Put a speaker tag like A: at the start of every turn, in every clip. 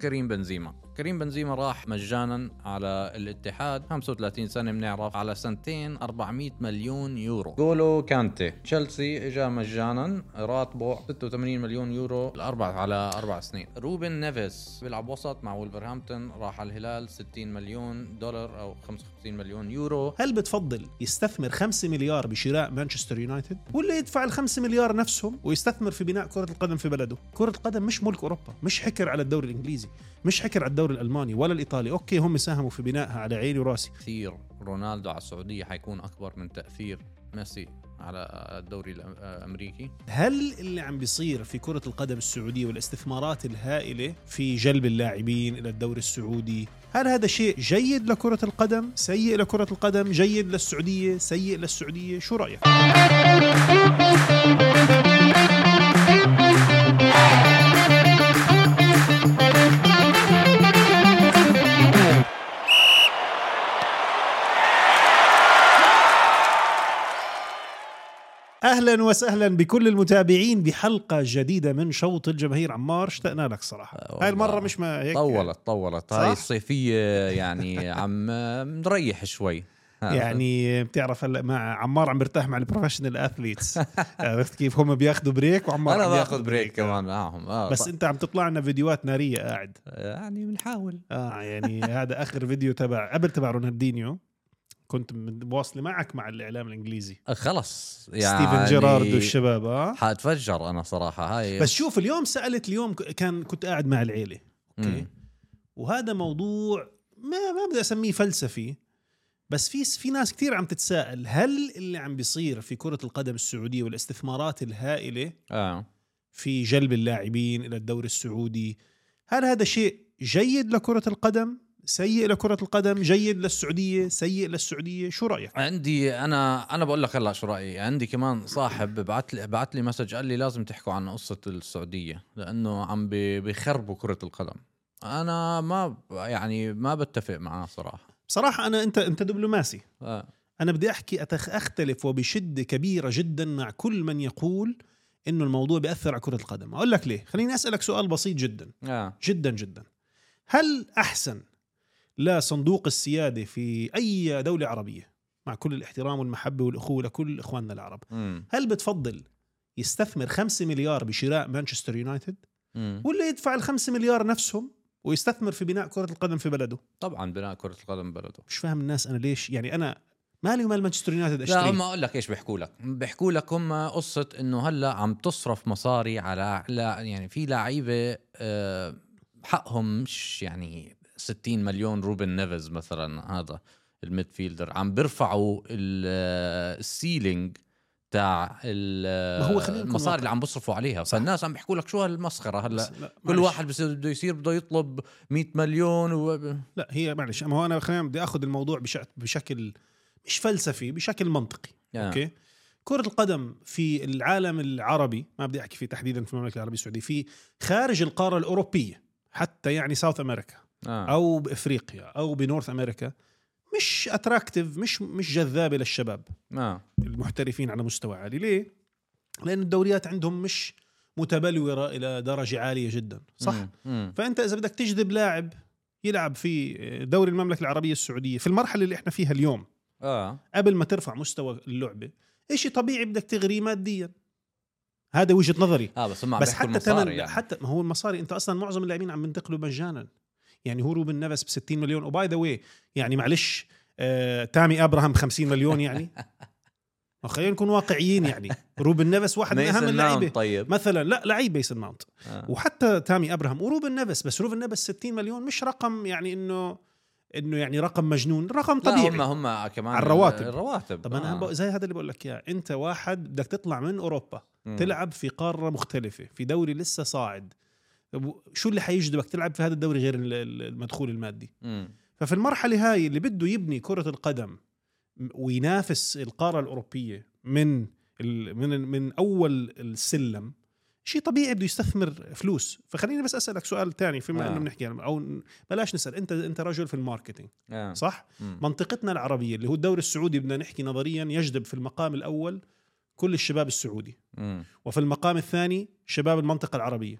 A: كريم بنزيما كريم بنزيما راح مجانا على الاتحاد 35 سنة بنعرف على سنتين 400 مليون يورو قولوا كانتي تشيلسي اجا مجانا راتبه 86 مليون يورو الأربع على أربع سنين روبن نيفيس بيلعب وسط مع ولفرهامبتون راح على الهلال 60 مليون دولار أو 55 مليون يورو
B: هل بتفضل يستثمر 5 مليار بشراء مانشستر يونايتد ولا يدفع ال 5 مليار نفسهم ويستثمر في بناء كرة القدم في بلده كرة القدم مش ملك أوروبا مش حكر على الدوري الإنجليزي مش حكر على الدوري الألماني ولا الإيطالي أوكي هم ساهموا في بنائها على عيني وراسي
A: تأثير رونالدو على السعودية حيكون أكبر من تأثير ميسي على الدوري الأم- الأمريكي
B: هل اللي عم بيصير في كرة القدم السعودية والاستثمارات الهائلة في جلب اللاعبين إلى الدوري السعودي هل هذا شيء جيد لكرة القدم سيء لكرة القدم جيد للسعودية سيء للسعودية شو رأيك اهلا وسهلا بكل المتابعين بحلقه جديده من شوط الجماهير عمار اشتقنا لك صراحه
A: آه، والله.
B: هاي المره مش ما هيك
A: طولت طولت
B: صح؟
A: هاي الصيفية يعني عم نريح شوي
B: يعني بتعرف هلا مع عمار عم برتاح مع البروفيشنال اثليتس عرفت كيف هم بياخذوا بريك وعمار
A: انا
B: عم ياخد
A: باخذ بريك كمان معهم آه
B: يعني. بس
A: طيب.
B: انت عم تطلع لنا فيديوهات ناريه قاعد
A: يعني بنحاول
B: اه يعني هذا اخر فيديو تبع قبل تبع رونالدينيو كنت مواصله معك مع الاعلام الانجليزي
A: آه، خلص
B: يعني
A: يعني
B: ستيفن جيرارد والشباب اه
A: حاتفجر انا صراحه هاي
B: بس شوف اليوم سالت اليوم ك- كان كنت قاعد مع العيله اوكي
A: مم.
B: وهذا موضوع ما ما بدي اسميه فلسفي بس في في ناس كثير عم تتساءل هل اللي عم بيصير في كره القدم السعوديه والاستثمارات الهائله
A: اه
B: في جلب اللاعبين الى الدوري السعودي هل هذا شيء جيد لكره القدم سيء لكره القدم جيد للسعوديه سيء للسعوديه شو رايك
A: عندي انا انا بقول لك هلا شو رايي عندي كمان صاحب بعت لي بعت لي مسج قال لي لازم تحكوا عن قصه السعوديه لانه عم بي- بيخربوا كره القدم انا ما ب- يعني ما بتفق معاه صراحه
B: بصراحه انا انت انت دبلوماسي
A: آه.
B: انا بدي احكي أتخ اختلف وبشده كبيره جدا مع كل من يقول انه الموضوع بياثر على كره القدم اقول لك ليه خليني اسالك سؤال بسيط جدا
A: آه.
B: جدا جدا هل احسن لا صندوق السياده في اي دوله عربيه مع كل الاحترام والمحبه والاخوه لكل اخواننا العرب
A: مم.
B: هل بتفضل يستثمر 5 مليار بشراء مانشستر يونايتد
A: مم.
B: ولا يدفع ال 5 مليار نفسهم ويستثمر في بناء كره القدم في بلده
A: طبعا بناء كره القدم بلده
B: مش فاهم الناس انا ليش يعني انا مالي ومال مانشستر يونايتد
A: لا
B: اشتري
A: هم اقول لك ايش بيحكوا لك بيحكوا لك هم قصه انه هلا عم تصرف مصاري على لا يعني في لعيبه آه، حقهم مش يعني 60 مليون روبن نيفز مثلا هذا الميدفيلدر عم بيرفعوا ال- آه، السيلينج تاع ال-
B: ما هو
A: آه،
B: خلينا نكون
A: المصاري
B: واقع.
A: اللي عم بصرفوا عليها
B: صح.
A: فالناس عم بيحكوا لك شو هالمسخره هلا
B: لا
A: كل
B: معلش.
A: واحد بصير بده يصير بده يطلب 100 مليون و...
B: لا هي معلش ما هو انا خلينا بدي اخذ الموضوع بشك- بشكل مش فلسفي بشكل منطقي
A: آه.
B: اوكي كرة القدم في العالم العربي ما بدي احكي فيه تحديدا في المملكة العربية السعودية في خارج القارة الأوروبية حتى يعني ساوث أمريكا
A: آه.
B: أو بإفريقيا أو بنورث أمريكا مش أتراكتيف مش مش جذابة للشباب
A: آه.
B: المحترفين على مستوى عالي ليه؟ لأن الدوريات عندهم مش متبلورة إلى درجة عالية جدا صح؟
A: مم. مم.
B: فانت اذا بدك تجذب لاعب يلعب في دوري المملكه العربيه السعوديه في المرحله اللي احنا فيها اليوم
A: اه
B: قبل ما ترفع مستوى اللعبه شيء طبيعي بدك تغريه ماديا هذا وجهه نظري
A: اه بس هم عم
B: بس
A: بيحكوا
B: حتى
A: المصاري
B: تمن يعني. حتى ما هو المصاري انت اصلا معظم اللاعبين عم بنتقلوا مجانا يعني هو روبن نفس ب 60 مليون وباي ذا واي يعني معلش آه تامي ابراهام 50 مليون يعني ما خلينا نكون واقعيين يعني روبن نفس واحد من اهم
A: ميسن
B: اللعيبه
A: ماونت طيب
B: مثلا لا لعيب بيسن ماونت
A: آه.
B: وحتى تامي ابراهام وروبن نبس بس روبن نبس 60 مليون مش رقم يعني انه انه يعني رقم مجنون رقم
A: لا
B: طبيعي
A: هم هم كمان
B: على الرواتب.
A: الرواتب
B: طب انا آه. زي هذا اللي بقول لك اياه انت واحد بدك تطلع من اوروبا
A: مم.
B: تلعب في قاره مختلفه في دوري لسه صاعد طب شو اللي حيجذبك تلعب في هذا الدوري غير ال- ال- المدخول المادي
A: مم.
B: ففي المرحله هاي اللي بده يبني كره القدم وينافس القاره الاوروبيه من ال- من من اول السلم شيء طبيعي بده يستثمر فلوس فخليني بس اسالك سؤال تاني فيما
A: آه.
B: انه بنحكي عن- او ن- بلاش نسال انت انت رجل في الماركتينج
A: آه.
B: صح
A: مم.
B: منطقتنا العربيه اللي هو الدوري السعودي بدنا نحكي نظريا يجذب في المقام الاول كل الشباب السعودي
A: مم.
B: وفي المقام الثاني شباب المنطقه العربيه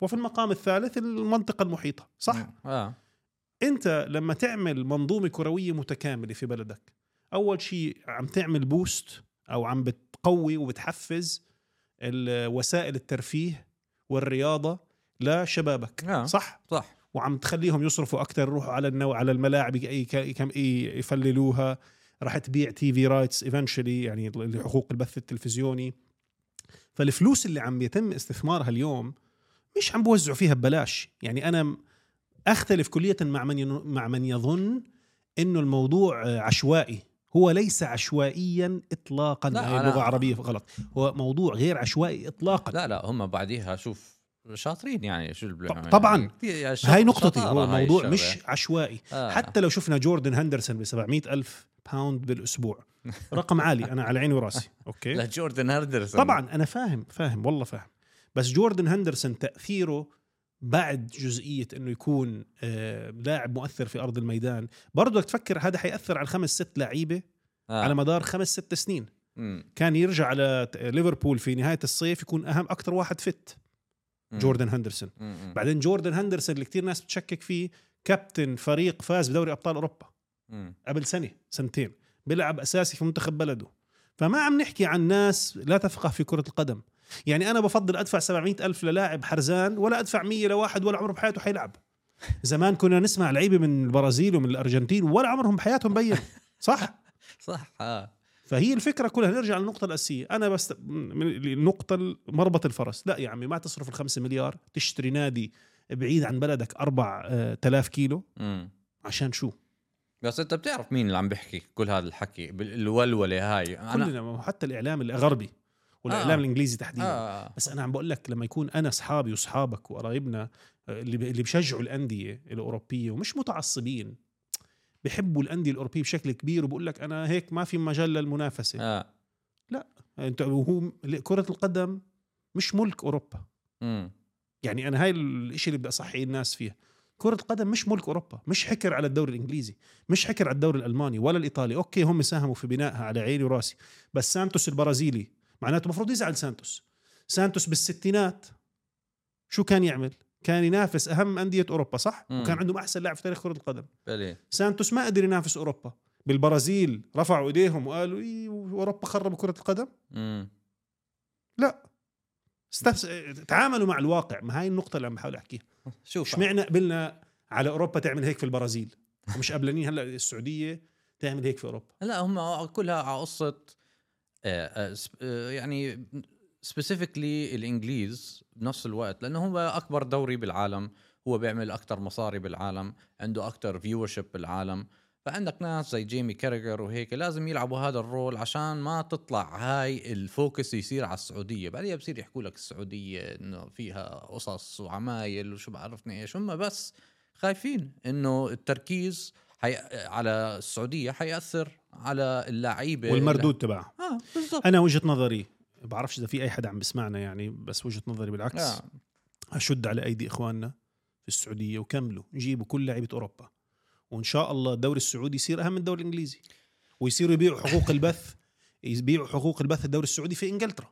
B: وفي المقام الثالث المنطقه المحيطه صح
A: اه
B: انت لما تعمل منظومه كرويه متكامله في بلدك اول شيء عم تعمل بوست او عم بتقوي وبتحفز ال- وسائل الترفيه والرياضه لشبابك
A: آه.
B: صح
A: صح
B: وعم تخليهم يصرفوا اكثر يروحوا على النو... على الملاعب ي- ي- كم ي- يفللوها رح تبيع تي في رايتس ايفنشلي يعني ال- حقوق البث التلفزيوني فالفلوس اللي عم يتم استثمارها اليوم مش عم بوزعوا فيها ببلاش يعني انا م- اختلف كليا مع من ين... مع من يظن انه الموضوع آه، عشوائي هو ليس عشوائيا اطلاقا
A: لا،
B: هي
A: أنا-
B: لغه عربيه غلط هو موضوع غير عشوائي اطلاقا
A: لا لا هم بعديها شوف شاطرين يعني شو اللي
B: ط-
A: بيعملوا.
B: طبعاً.
A: يعني كتير- الش-
B: هاي نقطتي
A: شطارة
B: هو
A: هاي
B: الموضوع
A: الشغلة.
B: مش عشوائي
A: آه.
B: حتى لو شفنا جوردن هندرسون ب 700 ألف باوند بالأسبوع رقم عالي أنا على عيني وراسي أوكي
A: لجوردن هندرسون
B: طبعا أنا فاهم فاهم والله فاهم بس جوردن هندرسون تأثيره بعد جزئية أنه يكون آه لاعب مؤثر في أرض الميدان برضو بدك تفكر هذا حيأثر على خمس ست لعيبة
A: آه.
B: على مدار خمس ست سنين
A: مم.
B: كان يرجع على ت- ليفربول في نهاية الصيف يكون أهم أكثر واحد فت
A: مم.
B: جوردن هندرسون
A: مم. مم.
B: بعدين جوردن هندرسون اللي كتير ناس بتشكك فيه كابتن فريق فاز بدوري ابطال اوروبا
A: مم.
B: قبل سنه سنتين بيلعب اساسي في منتخب بلده فما عم نحكي عن ناس لا تفقه في كره القدم يعني انا بفضل ادفع 700 الف للاعب حرزان ولا ادفع 100 لواحد ولا عمره بحياته حيلعب زمان كنا نسمع لعيبه من البرازيل ومن الارجنتين ولا عمرهم بحياتهم بين صح
A: صح اه
B: فهي الفكره كلها نرجع للنقطه الاساسيه انا بس من النقطه ال- مربط الفرس لا يا عمي ما تصرف الخمسة مليار تشتري نادي بعيد عن بلدك 4000 كيلو
A: مم.
B: عشان شو
A: بس انت بتعرف مين اللي عم بيحكي كل هذا الحكي بالولوله هاي انا
B: كلنا حتى الاعلام الغربي والاعلام
A: آه.
B: آه. الانجليزي تحديدا آه.
A: آه.
B: بس انا عم بقول لك لما يكون انا اصحابي واصحابك وقرايبنا آه، اللي ب- اللي بشجعوا الانديه الاوروبيه ومش متعصبين بحبوا الانديه الاوروبيه بشكل كبير وبقول لك انا هيك ما في مجال للمنافسه
A: آه.
B: انت وهو كره القدم مش ملك اوروبا
A: مم.
B: يعني انا هاي الشيء اللي بدي اصحي الناس فيه كرة القدم مش ملك اوروبا، مش حكر على الدوري الانجليزي، مش حكر على الدوري الالماني ولا الايطالي، اوكي هم ساهموا في بنائها على عيني وراسي، بس سانتوس البرازيلي معناته المفروض يزعل سانتوس. سانتوس بالستينات شو كان يعمل؟ كان ينافس اهم انديه اوروبا صح؟
A: مم.
B: وكان عندهم احسن لاعب في تاريخ كرة القدم،
A: بلي
B: سانتوس ما قدر ينافس اوروبا، بالبرازيل رفعوا ايديهم وقالوا إيه اوروبا خربوا كرة القدم؟
A: مم.
B: استفس... تعاملوا مع الواقع، ما هاي النقطة اللي عم بحاول احكيها.
A: شوف
B: اشمعنا قبلنا على اوروبا تعمل هيك في البرازيل ومش قبلانين هلا السعوديه تعمل هيك في اوروبا
A: لا هم كلها على قصه آه، آه، سب- آه، يعني سبيسيفيكلي الانجليز بنفس الوقت لانه هو اكبر دوري بالعالم هو بيعمل اكثر مصاري بالعالم عنده اكثر فيورشيب بالعالم فعندك ناس زي جيمي كارجر وهيك لازم يلعبوا هذا الرول عشان ما تطلع هاي الفوكس يصير على السعوديه بعدين بصير يحكوا لك السعوديه انه فيها قصص وعمايل وشو بعرفني ايش هم بس خايفين انه التركيز حي... على السعوديه حياثر على اللعيبه
B: والمردود تبعها
A: اه بالضبط
B: انا وجهه نظري بعرفش اذا في اي حدا عم بسمعنا يعني بس وجهه نظري بالعكس
A: آه.
B: اشد على ايدي اخواننا في السعوديه وكملوا جيبوا كل لعيبه اوروبا وان شاء الله الدوري السعودي يصير اهم من الدوري الانجليزي ويصيروا يبيعوا حقوق البث يبيعوا حقوق البث الدوري السعودي في انجلترا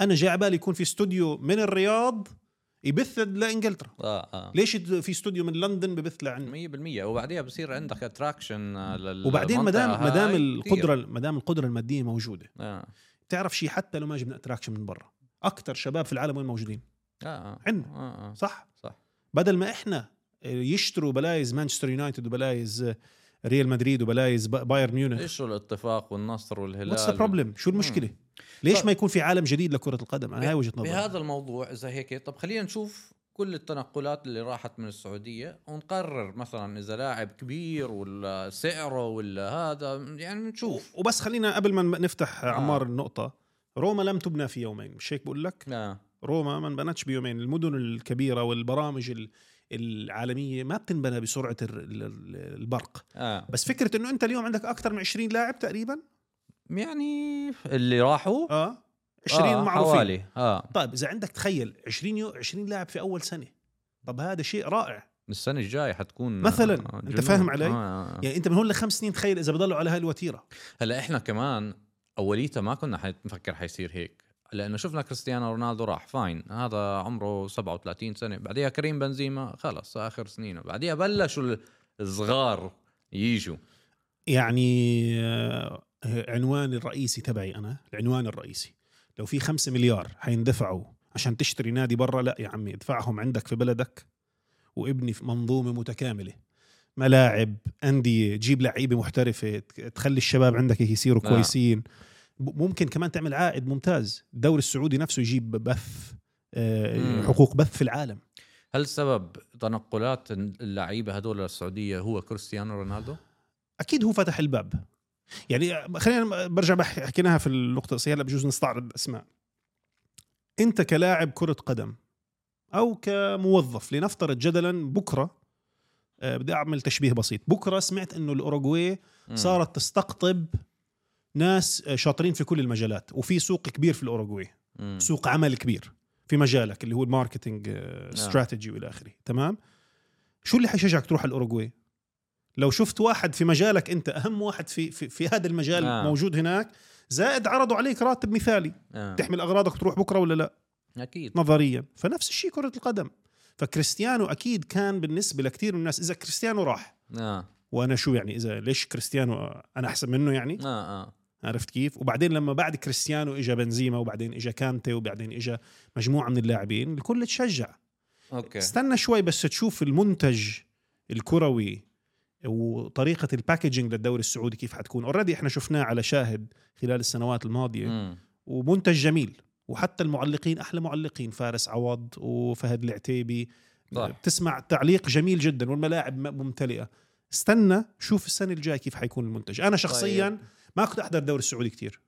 B: انا جاي على بالي يكون في استوديو من الرياض يبث لانجلترا
A: اه اه
B: ليش في استوديو من لندن ببث لعنا
A: 100% وبعديها بصير عندك اتراكشن لل
B: وبعدين ما دام ما دام القدره ما دام القدره الماديه موجوده
A: اه
B: بتعرف شيء حتى لو ما جبنا اتراكشن من برا اكثر شباب في العالم وين موجودين
A: اه اه
B: عندنا.
A: آه، آه.
B: صح
A: صح.
B: بدل ما احنا يشتروا بلايز مانشستر يونايتد وبلايز ريال مدريد وبلايز با- بايرن ميونخ
A: ايش الاتفاق والنصر والهلال
B: واتس بروبلم شو المشكله ليش
A: طيب.
B: ما يكون في عالم جديد لكره القدم انا هاي وجهه نظري
A: بهذا الموضوع اذا هيك طب خلينا نشوف كل التنقلات اللي راحت من السعوديه ونقرر مثلا اذا لاعب كبير ولا سعره ولا هذا يعني نشوف
B: وبس خلينا قبل ما نفتح عمار النقطه روما لم تبنى في يومين مش هيك بقول لك
A: آه.
B: روما ما انبنتش بيومين المدن الكبيرة والبرامج ال- العالمية ما بتنبنى بسرعة ال- ال- البرق
A: اه
B: بس فكرة انه انت اليوم عندك اكثر من 20 لاعب تقريبا
A: يعني اللي راحوا
B: اه 20 آه معروفين حوالي.
A: حوالي اه
B: طيب اذا عندك تخيل 20 يو 20 لاعب في اول سنة طب هذا شيء رائع
A: السنه الجايه حتكون
B: مثلاً،
A: آه،
B: أنت
A: جنون.
B: فاهم علي؟
A: آه.
B: يعني انت من هون لخمس سنين تخيل اذا بضلوا على هالوتيرة
A: هلا احنا كمان اوليتها ما كنا حنفكر حيصير هيك لانه شفنا كريستيانو رونالدو راح فاين هذا عمره 37 سنه بعديها كريم بنزيما خلص اخر سنينه بعديها بلشوا الصغار يجوا
B: يعني آه، عنواني الرئيسي تبعي انا العنوان الرئيسي لو في خمسة مليار حيندفعوا عشان تشتري نادي برا لا يا عمي ادفعهم عندك في بلدك وابني في منظومه متكامله ملاعب انديه تجيب لعيبه محترفه ت- تخلي الشباب عندك هيك يصيروا
A: نعم.
B: كويسين ب- ممكن كمان تعمل عائد ممتاز الدوري السعودي نفسه يجيب بث آه،
A: مم.
B: حقوق بث في العالم
A: هل سبب تنقلات اللعيبه هدول للسعوديه هو كريستيانو رونالدو؟
B: اكيد هو فتح الباب يعني خلينا برجع بح- حكيناها في النقطه الاساسيه هلا بجوز نستعرض اسماء انت كلاعب كره قدم او كموظف لنفترض جدلا بكره آه، بدي اعمل تشبيه بسيط بكره سمعت انه الاوروغواي
A: مم.
B: صارت تستقطب ناس آه، شاطرين في كل المجالات وفي سوق كبير في الاوروغواي
A: مم.
B: سوق عمل كبير في مجالك اللي هو الماركتينج استراتيجي والى اخره تمام شو اللي حيشجعك تروح على الاوروغواي لو شفت واحد في مجالك انت اهم واحد في في, في هذا المجال
A: آه.
B: آه. موجود هناك زائد عرضوا عليك راتب مثالي
A: آه.
B: تحمل اغراضك وتروح بكره ولا لا
A: اكيد
B: نظريا فنفس الشيء كره القدم فكريستيانو اكيد كان بالنسبه لكثير من الناس اذا كريستيانو راح
A: آه.
B: وانا شو يعني اذا ليش كريستيانو انا احسن منه يعني
A: اه اه
B: عرفت كيف؟ وبعدين لما بعد كريستيانو اجى بنزيما وبعدين اجى كانتي وبعدين اجى مجموعه من اللاعبين الكل تشجع،
A: اوكي
B: استنى شوي بس تشوف المنتج الكروي وطريقه الباكجينج للدوري السعودي كيف حتكون، اوريدي احنا شفناه على شاهد خلال السنوات الماضيه
A: مم.
B: ومنتج جميل وحتى المعلقين احلى معلقين فارس عوض وفهد العتيبي
A: صح.
B: بتسمع تعليق جميل جدا والملاعب م- ممتلئه استنى شوف السنه الجايه كيف حيكون المنتج انا شخصيا
A: طيب.
B: ما كنت احضر الدوري السعودي كثير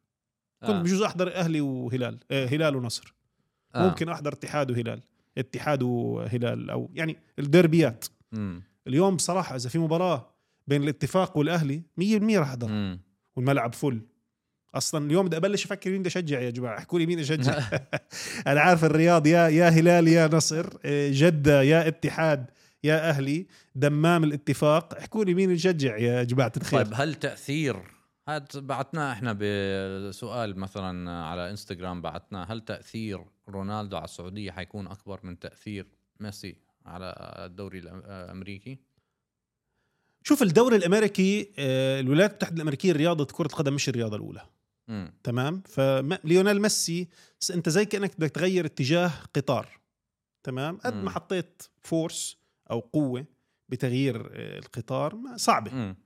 B: كنت
A: آه.
B: بجوز احضر اهلي وهلال آه هلال ونصر آه.
A: آه.
B: ممكن احضر اتحاد وهلال اتحاد وهلال او يعني الديربيات
A: مم.
B: اليوم بصراحه اذا في مباراه بين الاتفاق والاهلي 100% راح احضر
A: مم.
B: والملعب فل اصلا اليوم بدي ابلش افكر مين بدي اشجع يا جماعه احكوا لي مين اشجع انا عارف الرياض يا يا هلال يا نصر إيه، جده يا اتحاد يا اهلي دمام الاتفاق احكوا لي مين نشجع يا جماعه الخير
A: طيب هل تاثير هاد بعتناه احنا بسؤال مثلا على انستغرام بعتناه هل تاثير رونالدو على السعوديه حيكون اكبر من تاثير ميسي على الدوري الأم- الامريكي؟
B: شوف الدوري الامريكي آه، الولايات المتحده الامريكيه رياضه كره القدم مش الرياضه الاولى
A: مم.
B: تمام فليونيل ميسي س- انت زي كانك بدك تغير اتجاه قطار تمام قد
A: مم.
B: ما حطيت فورس او قوه بتغيير آه، القطار ما- صعبه
A: مم.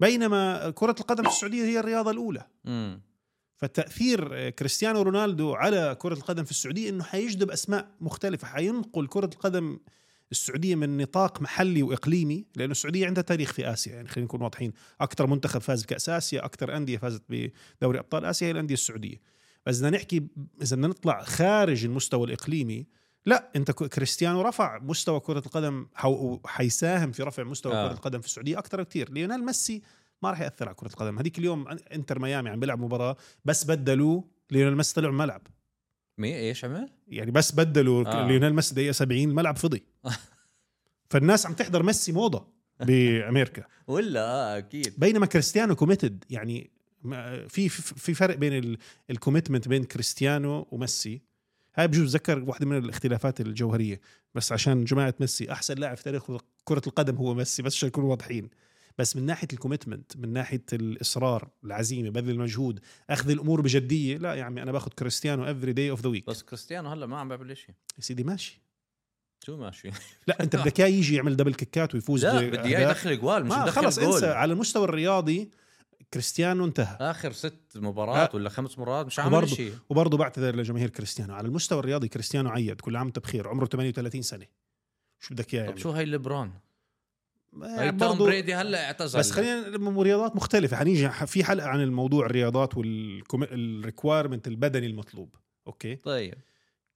B: بينما كرة القدم في السعودية هي الرياضة الأولى
A: مم.
B: فتأثير آه، كريستيانو رونالدو على كرة القدم في السعودية أنه حيجذب أسماء مختلفة حينقل كرة القدم السعودية من نطاق محلي وإقليمي لأنه السعودية عندها تاريخ في آسيا يعني خلينا نكون واضحين أكثر منتخب فاز بكأس آسيا أكثر أندية فازت بدوري أبطال آسيا هي الأندية السعودية بس بدنا نحكي ب- إذا بدنا نطلع خارج المستوى الإقليمي لا انت ك- كريستيانو رفع مستوى كره القدم حو- وحيساهم في رفع مستوى
A: آه.
B: آه. كره القدم في السعوديه اكثر كثير ليونيل ميسي ما راح ياثر على كره القدم هذيك اليوم أن- انتر ميامي عم بيلعب مباراه بس بدلوه ليونيل ميسي طلع من الملعب
A: مي ايش عمل؟
B: يعني بس بدلوا
A: آه.
B: آه. ليونيل ميسي دقيقه 70 الملعب فضي فالناس عم تحضر ميسي موضه بامريكا
A: ولا
B: آه،
A: اه اكيد
B: بينما كريستيانو كوميتد يعني ما- في في في فرق بين ال- الكوميتمنت بين كريستيانو وميسي هاي بجوز ذكر واحدة من الاختلافات الجوهرية بس عشان جماعة ميسي أحسن لاعب في تاريخ كرة القدم هو ميسي بس عشان نكون واضحين بس من ناحية الكوميتمنت من ناحية الإصرار العزيمة بذل المجهود أخذ الأمور بجدية لا يا عمي أنا باخذ كريستيانو افري داي اوف ذا ويك
A: بس كريستيانو هلا ما عم بيعمل شيء
B: يا سيدي ماشي
A: شو ماشي؟
B: لا أنت بدك إياه يجي يعمل دبل كيكات ويفوز
A: لا
B: بأهداف.
A: بدي اياه يدخل جوال مش
B: ما
A: يدخل
B: خلص
A: جول.
B: انسى على المستوى الرياضي كريستيانو انتهى
A: اخر ست مباريات
B: آه.
A: ولا خمس مباريات مش
B: وبرضه-
A: عامل شيء
B: وبرضه بعتذر لجماهير كريستيانو على المستوى الرياضي كريستيانو عيد كل عام وانت بخير عمره 38 سنه شو بدك اياه
A: طب
B: يعني
A: شو هاي ليبرون؟
B: ما-
A: هاي طيب، توم
B: برضه-
A: بريدي هلا اعتزل
B: إيه، بس خلينا م- رياضات مختلفه حنيجي ح- في حلقه عن الموضوع الرياضات والريكويرمنت البدني المطلوب اوكي
A: طيب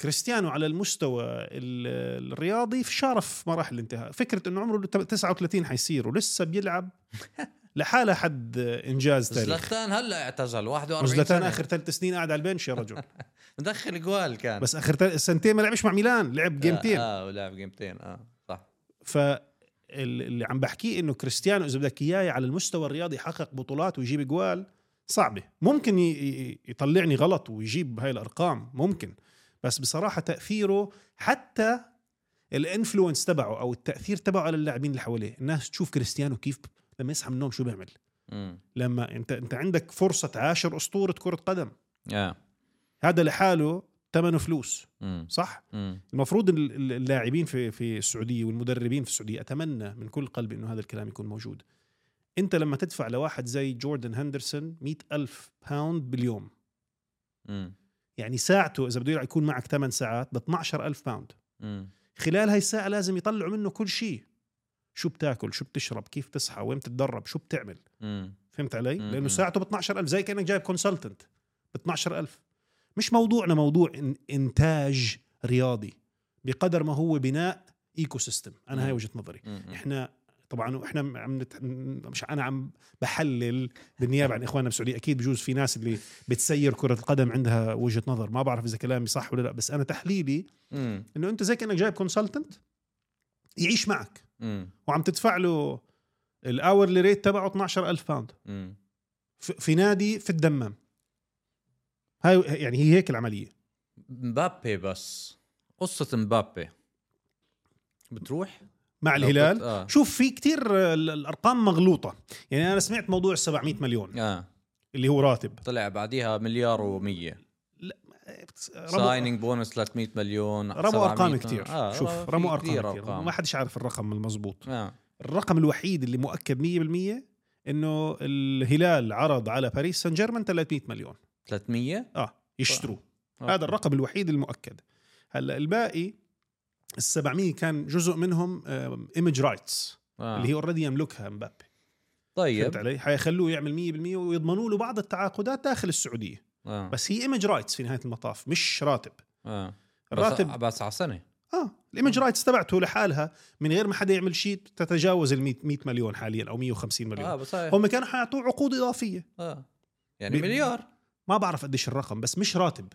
B: كريستيانو على المستوى ال- الرياضي في شرف مراحل الانتهاء فكره انه عمره تم- 39 حيصير ولسه بيلعب لحالها حد انجاز تاريخي
A: زلاتان هلا اعتزل 41
B: وزلتان
A: سنة.
B: اخر ثلاث سنين قاعد على البنش يا رجل
A: مدخل جوال كان
B: بس اخر تل- سنتين ما لعبش مع ميلان لعب جيمتين
A: اه, آه ولعب جيمتين اه صح
B: فاللي عم بحكيه انه كريستيانو اذا بدك اياه على المستوى الرياضي يحقق بطولات ويجيب جوال صعبه ممكن ي- ي- يطلعني غلط ويجيب هاي الارقام ممكن بس بصراحه تاثيره حتى الانفلونس تبعه او التاثير تبعه على اللاعبين اللي حواليه الناس تشوف كريستيانو كيف لما يصحى من النوم شو بيعمل
A: امم
B: لما انت انت عندك فرصه تعاشر اسطوره كره قدم
A: اه
B: هذا لحاله ثمنه فلوس
A: امم
B: صح
A: امم
B: المفروض ال- ال- اللاعبين في في السعوديه والمدربين في السعوديه اتمنى من كل قلبي انه هذا الكلام يكون موجود انت لما تدفع لواحد زي جوردن هندرسون مئة ألف باوند باليوم
A: امم
B: يعني ساعته اذا بده يلعب يكون معك 8 ساعات ب 12 ألف باوند
A: امم
B: خلال هاي الساعه لازم يطلعوا منه كل شيء شو بتاكل شو بتشرب كيف تصحى وين بتتدرب شو بتعمل
A: امم
B: فهمت علي
A: مم.
B: لانه ساعته ب 12000 زي كانك جايب كونسلتنت ب 12000 مش موضوعنا موضوع إن انتاج رياضي بقدر ما هو بناء ايكو سيستم
A: مم.
B: انا هاي وجهه نظري احنا طبعا احنا عم نت... مش انا عم بحلل بالنيابه عن اخواننا بالسعوديه اكيد بجوز في ناس اللي بتسير كره القدم عندها وجهه نظر ما بعرف اذا كلامي صح ولا لا بس انا تحليلي
A: امم
B: انه انت زي كانك جايب كونسلتنت يعيش معك
A: امم
B: وعم تدفع له الاورلي ريت تبعه 12000 باوند
A: امم
B: في في نادي في الدمام هاي يعني هي هيك العمليه
A: مبابي بس قصة مبابي بتروح
B: مع
A: لو
B: الهلال
A: كنت- آه.
B: شوف في كتير آه، ال- الارقام مغلوطه يعني انا سمعت موضوع 700 مليون
A: اه
B: اللي هو راتب
A: طلع بعديها مليار و100
B: ربوا-
A: سايننج بونس 300 مليون
B: رموا
A: 700
B: ارقام
A: مليون.
B: كتير
A: آه
B: شوف
A: آه، في
B: رموا ارقام
A: كتير
B: كتير ما حدش عارف الرقم المزبوط
A: آه.
B: الرقم الوحيد اللي مؤكد 100% انه الهلال عرض على باريس سان جيرمان 300 مليون
A: 300
B: اه يشتروه
A: أوكي.
B: هذا الرقم الوحيد المؤكد هلا الباقي ال 700 كان جزء منهم ايمج رايتس
A: آه.
B: اللي هي اوريدي يملكها مبابي فهمت
A: طيب
B: علي؟ حيخلوه يعمل 100% ويضمنوا له بعض التعاقدات داخل السعوديه،
A: آه.
B: بس هي ايمج رايتس في نهايه المطاف مش راتب،
A: آه. بس
B: الراتب
A: بس على سنة
B: اه الايمج رايتس تبعته لحالها من غير ما حدا يعمل شيء تتجاوز ال 100 100 مليون حاليا او 150 مليون،
A: اه بس هاي-
B: هم كانوا حيعطوه عقود اضافيه،
A: آه. يعني
B: ب-
A: مليار
B: ما بعرف قديش الرقم بس مش راتب،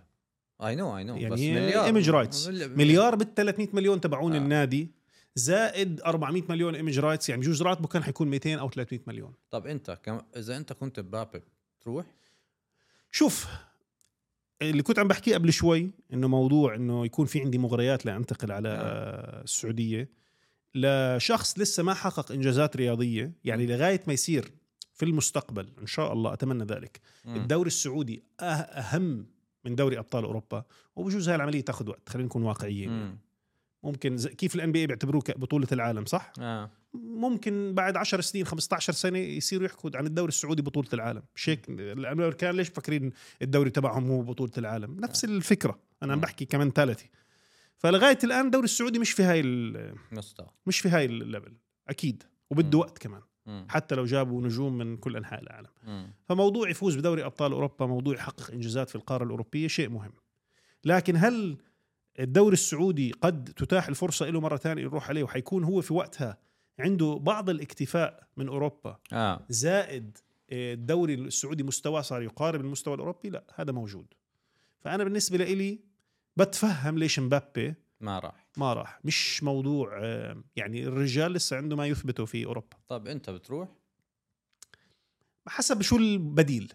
A: اي نو اي نو
B: يعني
A: بس
B: هي
A: مليار
B: image rights.
A: مل-
B: مليار بال 300 مليون تبعون
A: آه.
B: آه. النادي زائد 400 مليون ايمج رايتس يعني بجوز راتبه كان حيكون 200 او 300 مليون
A: طب انت كم... اذا انت كنت بابي تروح
B: شوف اللي كنت عم بحكيه قبل شوي انه موضوع انه يكون في عندي مغريات لانتقل
A: نعم.
B: على آه. السعوديه لشخص لسه ما حقق انجازات رياضيه يعني لغايه ما يصير في المستقبل ان شاء الله اتمنى ذلك
A: مم.
B: الدوري السعودي أه- اهم من دوري ابطال اوروبا وبجوز هاي العمليه تاخذ وقت خلينا نكون واقعيين يعني.
A: مم.
B: ممكن زي- كيف الان بي اي بيعتبروه كبطوله العالم صح
A: اه
B: ممكن بعد 10 سنين 15 سنه يصيروا يحكوا عن الدوري السعودي بطوله العالم شيك الامريكان ليش مفكرين الدوري تبعهم هو بطوله العالم نفس الفكره انا عم بحكي كمنتاليتي فلغايه الان الدوري السعودي مش في هاي ال-
A: مستوى
B: مش في هاي الليفل اكيد وبده وقت كمان
A: مم.
B: حتى لو جابوا نجوم من كل انحاء العالم
A: مم.
B: فموضوع يفوز بدوري ابطال اوروبا موضوع يحقق انجازات في القاره الاوروبيه شيء مهم لكن هل الدوري السعودي قد تتاح الفرصه له مره ثانيه يروح عليه وحيكون هو في وقتها عنده بعض الاكتفاء من اوروبا
A: اه
B: زائد آه، الدوري السعودي مستواه صار يقارب المستوى الاوروبي لا هذا موجود فانا بالنسبه لإلي بتفهم ليش مبابي
A: ما راح
B: ما راح مش موضوع آه، يعني الرجال لسه عنده ما يثبته في اوروبا
A: طب انت بتروح
B: حسب شو البديل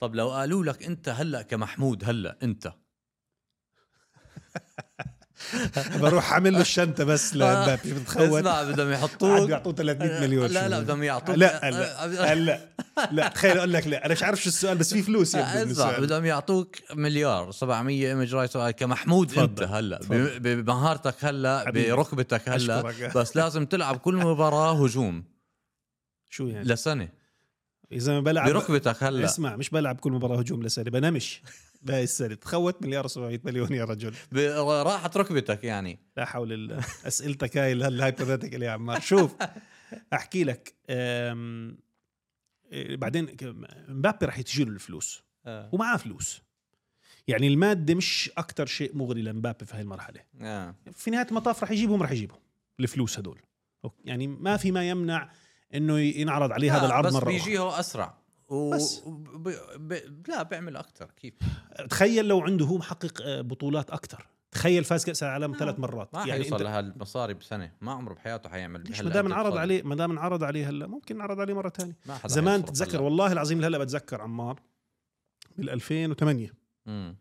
A: طب لو قالوا لك انت هلا كمحمود هلا انت
B: بروح عامل له الشنطه
A: آه،
B: بس لمبابي بتخوت
A: اسمع بدهم
B: قعدوا
A: يحطوك
B: يعطوه 300 مليون
A: لا لا
B: شو
A: بدهم يعطوك آه،
B: لا، لا لا لا تخيل اقول لك لا انا مش عارف شو السؤال بس في فلوس يبدو من
A: اسمع
B: السؤال
A: بدهم يعطوك مليار 700 ايمج رايت آه، كمحمود انت
B: تفضل،
A: هلا ب-
B: تفضل.
A: بمهارتك هلا
B: حبيبي،
A: بركبتك هلا
B: أشكرك.
A: بس لازم تلعب كل مباراه هجوم
B: شو يعني
A: لسنه
B: اذا ما بلعب
A: بركبتك هلا
B: اسمع مش بلعب كل مباراه هجوم لسنه بنامش بهاي السنه تخوت مليار و700 مليون يا رجل
A: راحت ركبتك يعني
B: لا حول الله اسئلتك هاي ال- الهايبوثيتيكال يا عمار شوف احكي لك أم، إيه، بعدين ك- مبابي رح يتجي له الفلوس
A: آه.
B: ومعاه فلوس يعني الماده مش اكثر شيء مغري لمبابي في هاي المرحله
A: آه.
B: في نهايه المطاف رح يجيبهم رح يجيبهم الفلوس هدول أوك- يعني ما في ما يمنع انه ي- ينعرض عليه هذا
A: آه،
B: العرض
A: بس
B: مره أخرى.
A: بيجيه اسرع و...
B: بس.
A: وب... ب... لا بيعمل اكثر كيف
B: تخيل لو عنده هو محقق آه، بطولات اكثر تخيل فاز كاس العالم ثلاث مرات
A: ما
B: يعني
A: حيوصل
B: انت
A: لهالمصاري بسنه ما عمره بحياته حيعمل
B: ليش
A: هلا
B: ما دام
A: أنت
B: انعرض
A: بتصدق.
B: عليه ما دام انعرض عليه هلا ممكن نعرض عليه مره ثانيه
A: ما حدا
B: زمان
A: حيصرف
B: تتذكر
A: هلا.
B: والله العظيم هلا بتذكر عمار بال 2008
A: امم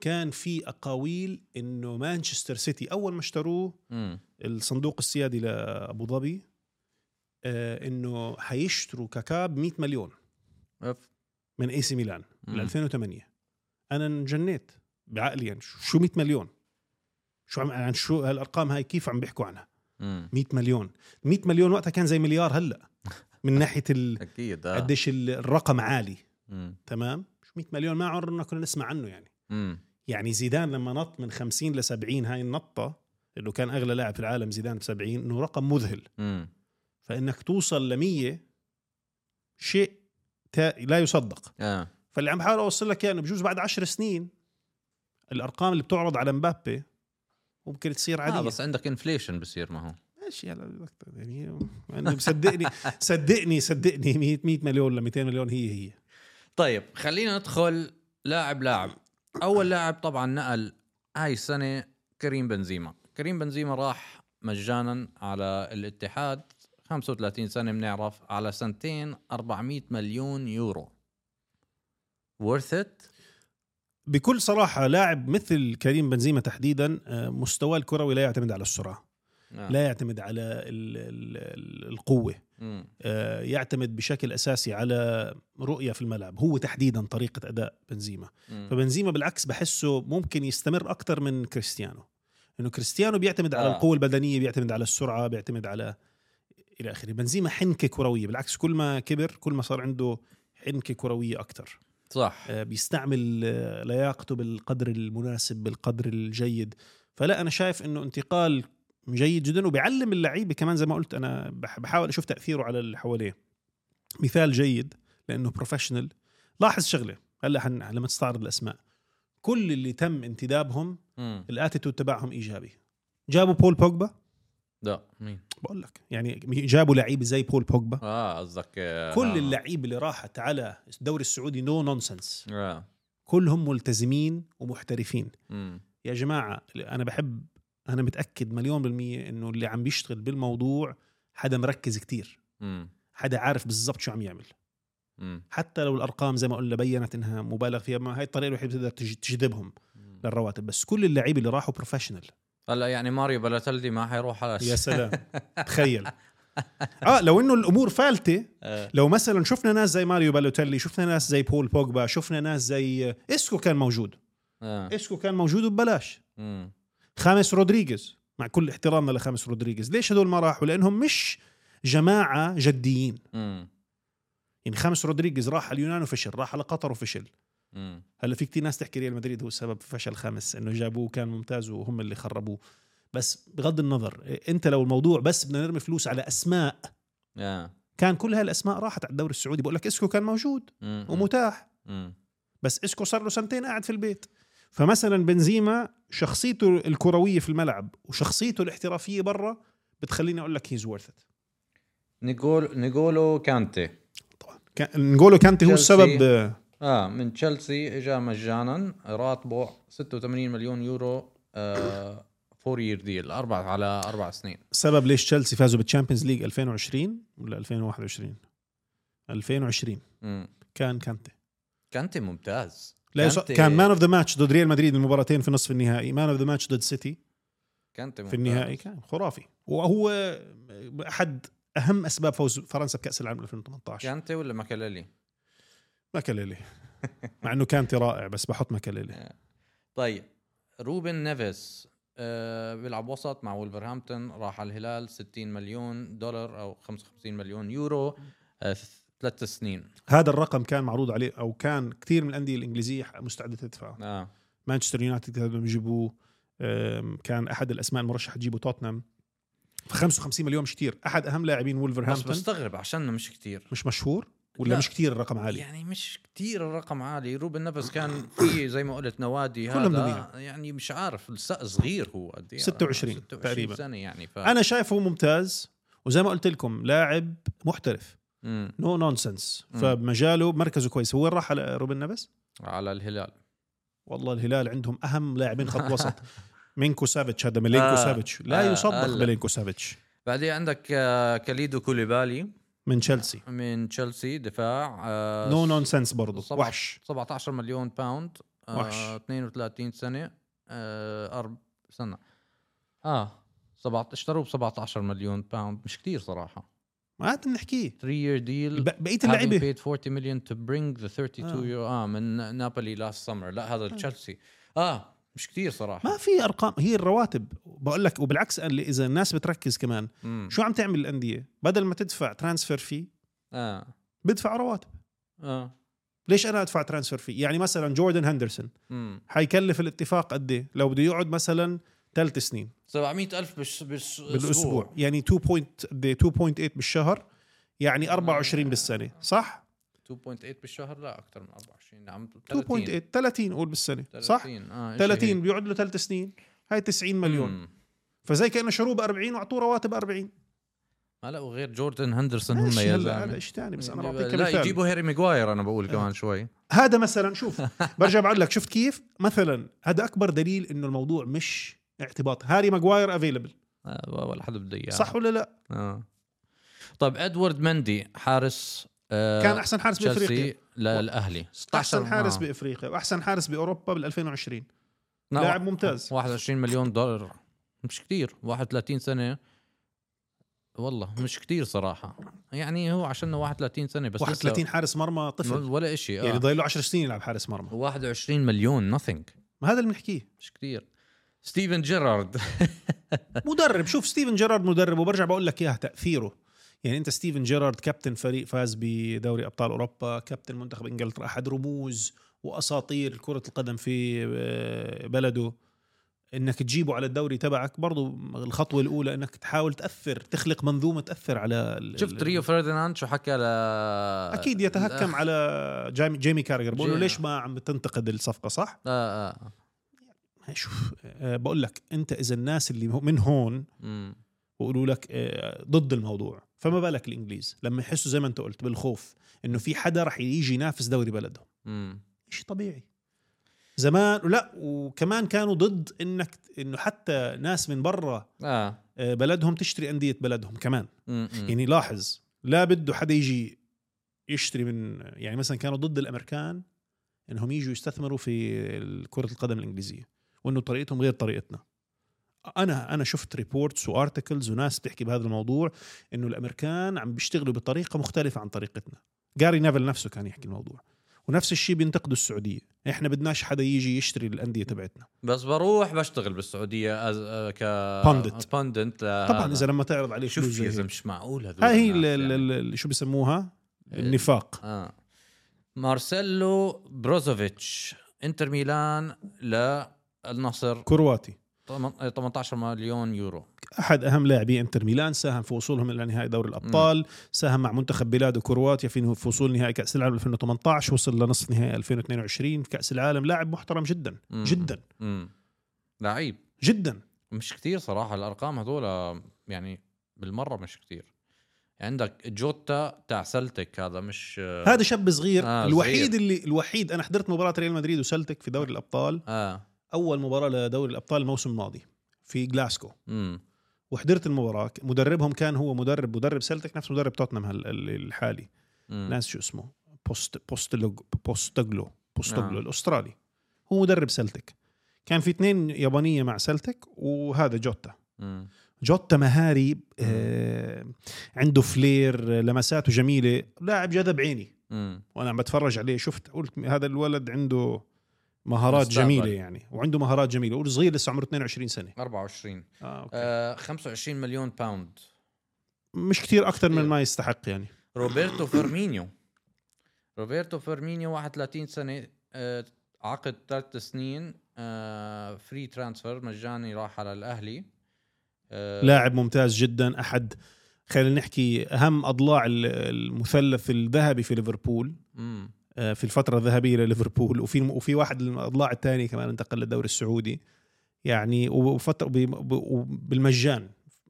B: كان في اقاويل انه مانشستر سيتي اول ما اشتروه
A: امم
B: الصندوق السيادي لابو ظبي آه، انه حيشتروا كاكا ب 100 مليون
A: اف
B: من اي سي ميلان بال
A: مم.
B: 2008 انا انجنيت بعقلي يعني شو- شو 100 مليون شو عم عن شو هالارقام هاي كيف عم بيحكوا عنها
A: 100
B: 100 مليون 100 مليون وقتها كان زي مليار هلا من ناحيه ال...
A: اكيد آه.
B: قديش ال- الرقم عالي
A: مم.
B: تمام شو 100 مليون ما عمرنا كنا نسمع عنه يعني
A: مم.
B: يعني زيدان لما نط من 50 ل 70 هاي النطه اللي كان اغلى لاعب في العالم زيدان ب 70 انه رقم مذهل
A: مم.
B: فانك توصل ل 100 شيء تا- لا يصدق
A: اه
B: فاللي عم بحاول اوصل لك اياه انه بجوز بعد 10 سنين الارقام اللي بتعرض على مبابي ممكن تصير عاديه
A: آه بس عندك انفليشن بصير ما هو
B: ماشي هلا بدك ت- يعني يعني صدقني صدقني صدقني 100 100 مليون ل 200 مليون هي هي
A: طيب خلينا ندخل لاعب لاعب اول لاعب طبعا نقل هاي السنه كريم بنزيما كريم بنزيما راح مجانا على الاتحاد 35 سنه بنعرف على سنتين 400 مليون يورو worth it
B: بكل صراحه لاعب مثل كريم بنزيما تحديدا آه، مستواه الكروي لا يعتمد على السرعه
A: آه.
B: لا يعتمد على ال ال ال- القوه
A: مم.
B: آه، يعتمد بشكل اساسي على رؤيه في الملعب هو تحديدا طريقه اداء بنزيما
A: مم.
B: فبنزيما بالعكس بحسه ممكن يستمر اكثر من كريستيانو انه كريستيانو بيعتمد على
A: آه.
B: القوه البدنيه بيعتمد على السرعه بيعتمد على الى اخره بنزيما حنكه كرويه بالعكس كل ما كبر كل ما صار عنده حنكه كرويه اكثر
A: صح
B: آه، بيستعمل آه، لياقته بالقدر المناسب بالقدر الجيد فلا انا شايف انه انتقال جيد جدا وبيعلم اللعيبه كمان زي ما قلت انا بح- بحاول اشوف تاثيره على اللي حواليه مثال جيد لانه بروفيشنال لاحظ شغله هلا حن لما تستعرض الاسماء كل اللي تم انتدابهم
A: مم.
B: الاتيتود تبعهم ايجابي جابوا بول بوجبا
A: لا مين
B: بقول لك يعني جابوا لعيب زي بول بوجبا
A: اه قصدك آه،
B: كل
A: آه.
B: اللعيبه اللي راحت على الدوري السعودي نو نونسنس
A: آه.
B: كلهم ملتزمين ومحترفين
A: مم.
B: يا جماعة أنا بحب أنا متأكد مليون بالمية إنه اللي عم بيشتغل بالموضوع حدا مركز كتير
A: مم.
B: حدا عارف بالضبط شو عم يعمل
A: مم.
B: حتى لو الأرقام زي ما قلنا بينت إنها مبالغ فيها ما هاي الطريقة الوحيدة اللي بتقدر تج- تجذبهم
A: مم.
B: للرواتب بس كل اللعيبة اللي راحوا بروفيشنال
A: هلا يعني ماريو بلاتلدي ما حيروح على
B: يا سلام تخيل اه لو انه الامور فالته
A: آه.
B: لو مثلا شفنا ناس زي ماريو بالوتيلي شفنا ناس زي بول بوجبا شفنا ناس زي اسكو كان موجود
A: آه.
B: اسكو كان موجود وببلاش
A: مم.
B: خامس رودريغيز مع كل احترامنا لخامس رودريغيز ليش هدول ما راحوا لانهم مش جماعه جديين
A: مم.
B: يعني خامس رودريغيز راح على اليونان وفشل راح على قطر وفشل
A: مم.
B: هلا في كتير ناس تحكي ريال مدريد هو السبب في فشل خامس انه جابوه كان ممتاز وهم اللي خربوه بس بغض النظر إيه، انت لو الموضوع بس بدنا نرمي فلوس على اسماء
A: آه.
B: كان كل هالاسماء راحت على الدوري السعودي بقول لك اسكو كان موجود
A: مم.
B: ومتاح
A: مم.
B: بس اسكو صار له سنتين قاعد في البيت فمثلا بنزيما شخصيته الكرويه في الملعب وشخصيته الاحترافيه برا بتخليني اقول لك هيز ورث ات
A: نيكول نيكولو كانتي
B: طبعا كان- نقوله كانتي هو
A: تشيلسي.
B: السبب آه،
A: اه من تشيلسي اجى مجانا راتبه 86 مليون يورو آه فور يير ديل اربع على اربع سنين
B: سبب ليش تشيلسي فازوا بالتشامبيونز ليج 2020 ولا 2021 2020
A: مم.
B: كان كانتي
A: كانتي ممتاز
B: لا يص...
A: كانتي-
B: كان مان اوف ذا ماتش ضد ريال مدريد المباراتين في نصف النهائي مان اوف ذا ماتش ضد سيتي
A: كانتي
B: في
A: ممتاز.
B: النهائي كان خرافي وهو احد اهم اسباب فوز فرنسا بكاس العالم 2018
A: كانتي ولا ماكاليلي
B: ماكاليلي مع انه كانتي رائع بس بحط ماكاليلي
A: طيب روبن نيفيس آه بيلعب وسط مع ولفرهامبتون راح على الهلال 60 مليون دولار او 55 مليون يورو آه ثلاث سنين
B: هذا الرقم كان معروض عليه او كان كثير من الانديه الانجليزيه مستعده تدفعه
A: اه
B: مانشستر يونايتد كانوا بدهم يجيبوه أم، كان احد الاسماء المرشحه تجيبه توتنهام ف 55 مليون مش كثير احد اهم لاعبين
A: بس
B: ولفرهامبتون
A: مستغرب عشان مش كتير
B: مش مشهور ولا
A: لا.
B: مش كثير الرقم عالي
A: يعني مش كتير الرقم عالي روبن نفس كان في زي ما قلت نوادي
B: كلهم
A: هذا
B: بدهم
A: يعني مش عارف السقف صغير هو قد ايه
B: 26 تقريباً.
A: سنه يعني ف
B: انا شايفه ممتاز وزي ما قلت لكم لاعب محترف
A: مم.
B: نو نونسنس
A: مم.
B: فمجاله مركزه كويس هو وين راح على روبن نبس
A: على الهلال
B: والله الهلال عندهم اهم لاعبين خط وسط مينكو سافيتش هذا ميلينكو
A: آه،
B: سافيتش لا
A: آه،
B: يصدق
A: هلا.
B: ميلينكو سافيتش
A: بعدين عندك آه، كاليدو كوليبالي
B: من تشيلسي
A: من تشيلسي دفاع آه،
B: نو نونسنس برضه
A: سبعة-
B: وحش
A: 17 مليون باوند آه،
B: وحش.
A: 32 سنه آه، أرب سنه اه 17 اشتروه ب 17 مليون باوند مش كتير صراحه
B: ما عاد بنحكيه
A: 3 year deal
B: ب- بقيه
A: having
B: اللعيبه
A: paid 40 million to bring the 32
B: آه.
A: يورو اه من نابولي لاست سمر لا هذا تشيلسي اه مش كتير صراحه
B: ما في ارقام هي الرواتب بقول لك وبالعكس قال لي اذا الناس بتركز كمان
A: مم.
B: شو عم تعمل الانديه بدل ما تدفع ترانسفير في
A: اه
B: بدفع رواتب
A: اه
B: ليش انا ادفع ترانسفير في يعني مثلا جوردن هندرسون
A: امم
B: حيكلف الاتفاق قد ايه لو بده يقعد مثلا ثلاث سنين
A: 700000 بس بس
B: بالاسبوع يعني 2 بوينت قد إيه؟ 2.8 بالشهر
A: آه.
B: يعني 24 بالسنه صح
A: 2.8 بالشهر لا اكثر من نعم، 24 عم
B: 2.8 30 قول بالسنه صح
A: 30 اه إشي
B: 30
A: هيك.
B: بيقعد له ثلاث سنين هاي 90 مليون
A: مم.
B: فزي كانه شروه ب 40 واعطوه رواتب 40
A: ما لا وغير جوردن هندرسون هم
B: ماشي
A: يا
B: هلا هذا
A: زلمه
B: شيء ثاني بس انا
A: يعني
B: بعطيك
A: لا
B: مثال آه.
A: يجيبوا هاري ماجواير انا بقول كمان شوي
B: هذا مثلا شوف برجع بقول لك شفت كيف مثلا هذا اكبر دليل انه الموضوع مش اعتباط هاري ماجواير افيلبل
A: آه، ولا حدا بده اياه
B: صح ولا لا
A: آه. طيب ادوارد مندي حارس آه
B: كان احسن حارس بافريقيا
A: تشيلسي للاهلي 16
B: احسن حارس
A: آه.
B: بافريقيا واحسن حارس باوروبا بال 2020
A: لا،
B: لاعب
A: وا-
B: ممتاز.
A: 21 مليون دولار مش كتير 31 سنه والله مش كتير صراحه يعني هو عشان 31 سنه بس
B: 31 حارس مرمى
A: لسه
B: طفل
A: ولا شيء
B: يعني
A: آه.
B: ضايل له 10 سنين يلعب حارس مرمى
A: 21 مليون nothing
B: ما هذا اللي بنحكيه
A: مش كتير ستيفن جيرارد
B: مدرب شوف ستيفن جيرارد مدرب وبرجع بقول لك اياها تاثيره يعني انت ستيفن جيرارد كابتن فريق فاز بدوري ابطال اوروبا كابتن منتخب انجلترا احد رموز واساطير كره القدم في آه، بلده انك تجيبه على الدوري تبعك برضو الخطوه الاولى انك تحاول تاثر تخلق منظومه تاثر على ال-
A: شفت ريو فرديناند شو حكى ل
B: اكيد يتهكم
A: الأخ-
B: على جيمي, جيمي كارجر بقول له
A: جيمي.
B: ليش ما عم تنتقد الصفقه صح
A: اه اه
B: شوف آه، بقول لك انت اذا الناس اللي هو- من هون
A: امم
B: ويقولوا لك آه، ضد الموضوع فما بالك الانجليز لما يحسوا زي ما انت قلت بالخوف انه في حدا رح يجي ينافس دوري بلدهم
A: امم
B: شيء طبيعي زمان لا وكمان كانوا ضد انك انه حتى ناس من برا
A: اه
B: آه، بلدهم تشتري انديه بلدهم كمان
A: مم، مم.
B: يعني لاحظ لا بده حدا يجي يشتري من يعني مثلا كانوا ضد الامريكان انهم يجوا يستثمروا في كره القدم الانجليزيه وانه طريقتهم غير طريقتنا انا انا شفت ريبورتس وارتكلز وناس بتحكي بهذا الموضوع انه الامريكان عم بيشتغلوا بطريقه مختلفه عن طريقتنا جاري نيفل نفسه كان يحكي الموضوع ونفس الشيء بينتقدوا السعوديه احنا بدناش حدا يجي يشتري الانديه تبعتنا
A: بس بروح بشتغل بالسعوديه أز... آه، ك
B: Pundit.
A: بندت
B: طبعا اذا لما تعرض عليه
A: شوف
B: فلوس
A: يا
B: زي
A: زلمه
B: هيك.
A: مش معقول هذول
B: هاي هي
A: الناس
B: ال-
A: يعني.
B: ال- ال- شو بسموها
A: إيه.
B: النفاق
A: آه. مارسيلو بروزوفيتش انتر ميلان للنصر
B: كرواتي
A: طم- 18 مليون يورو
B: احد اهم لاعبي انتر ميلان ساهم في وصولهم الى نهائي دوري الابطال ساهم مع منتخب بلاده كرواتيا في في وصول نهائي كاس العالم 2018 وصل لنصف نهائي 2022 في كاس العالم لاعب محترم جدا
A: مم.
B: جدا
A: امم لعيب
B: جدا
A: مش كتير صراحه الارقام هذول يعني بالمره مش كتير عندك جوتا تاع سلتك هذا مش
B: هذا شاب صغير
A: آه،
B: الوحيد
A: صغير.
B: اللي الوحيد انا حضرت مباراه ريال مدريد وسلتك في دوري الابطال
A: اه
B: اول مباراه لدوري الابطال الموسم الماضي في جلاسكو
A: امم
B: وحضرت المباراه مدربهم كان هو مدرب مدرب سلتك نفس مدرب توتنهام هال- ال- الحالي
A: امم
B: ناس شو اسمه بوست بوستلوج بوستوغلو بوستوغلو
A: آه.
B: الاسترالي هو مدرب سلتك كان في اثنين يابانيه مع سلتك وهذا جوتا
A: أمم.
B: جوتا مهاري آه عنده فلير آه، لمساته جميله لاعب جذب عيني
A: أمم.
B: وانا عم بتفرج عليه شفت قلت هذا الولد عنده مهارات
A: مستقبل.
B: جميله يعني وعنده مهارات جميله وصغير لسه عمره 22 سنه
A: 24
B: آه أوكي.
A: آه 25 مليون باوند
B: مش كثير اكثر من
A: كتير.
B: ما يستحق يعني
A: روبرتو فيرمينيو روبرتو فيرمينيو 31 سنه آه، عقد ثلاث سنين فري ترانسفير مجاني راح على الاهلي آه،
B: لاعب ممتاز جدا احد خلينا نحكي اهم اضلاع ال- المثلث الذهبي في ليفربول
A: مم،
B: آه، في الفتره الذهبيه لليفربول وفي وفي واحد من الاضلاع الثاني كمان انتقل للدوري السعودي يعني وفتره بالمجان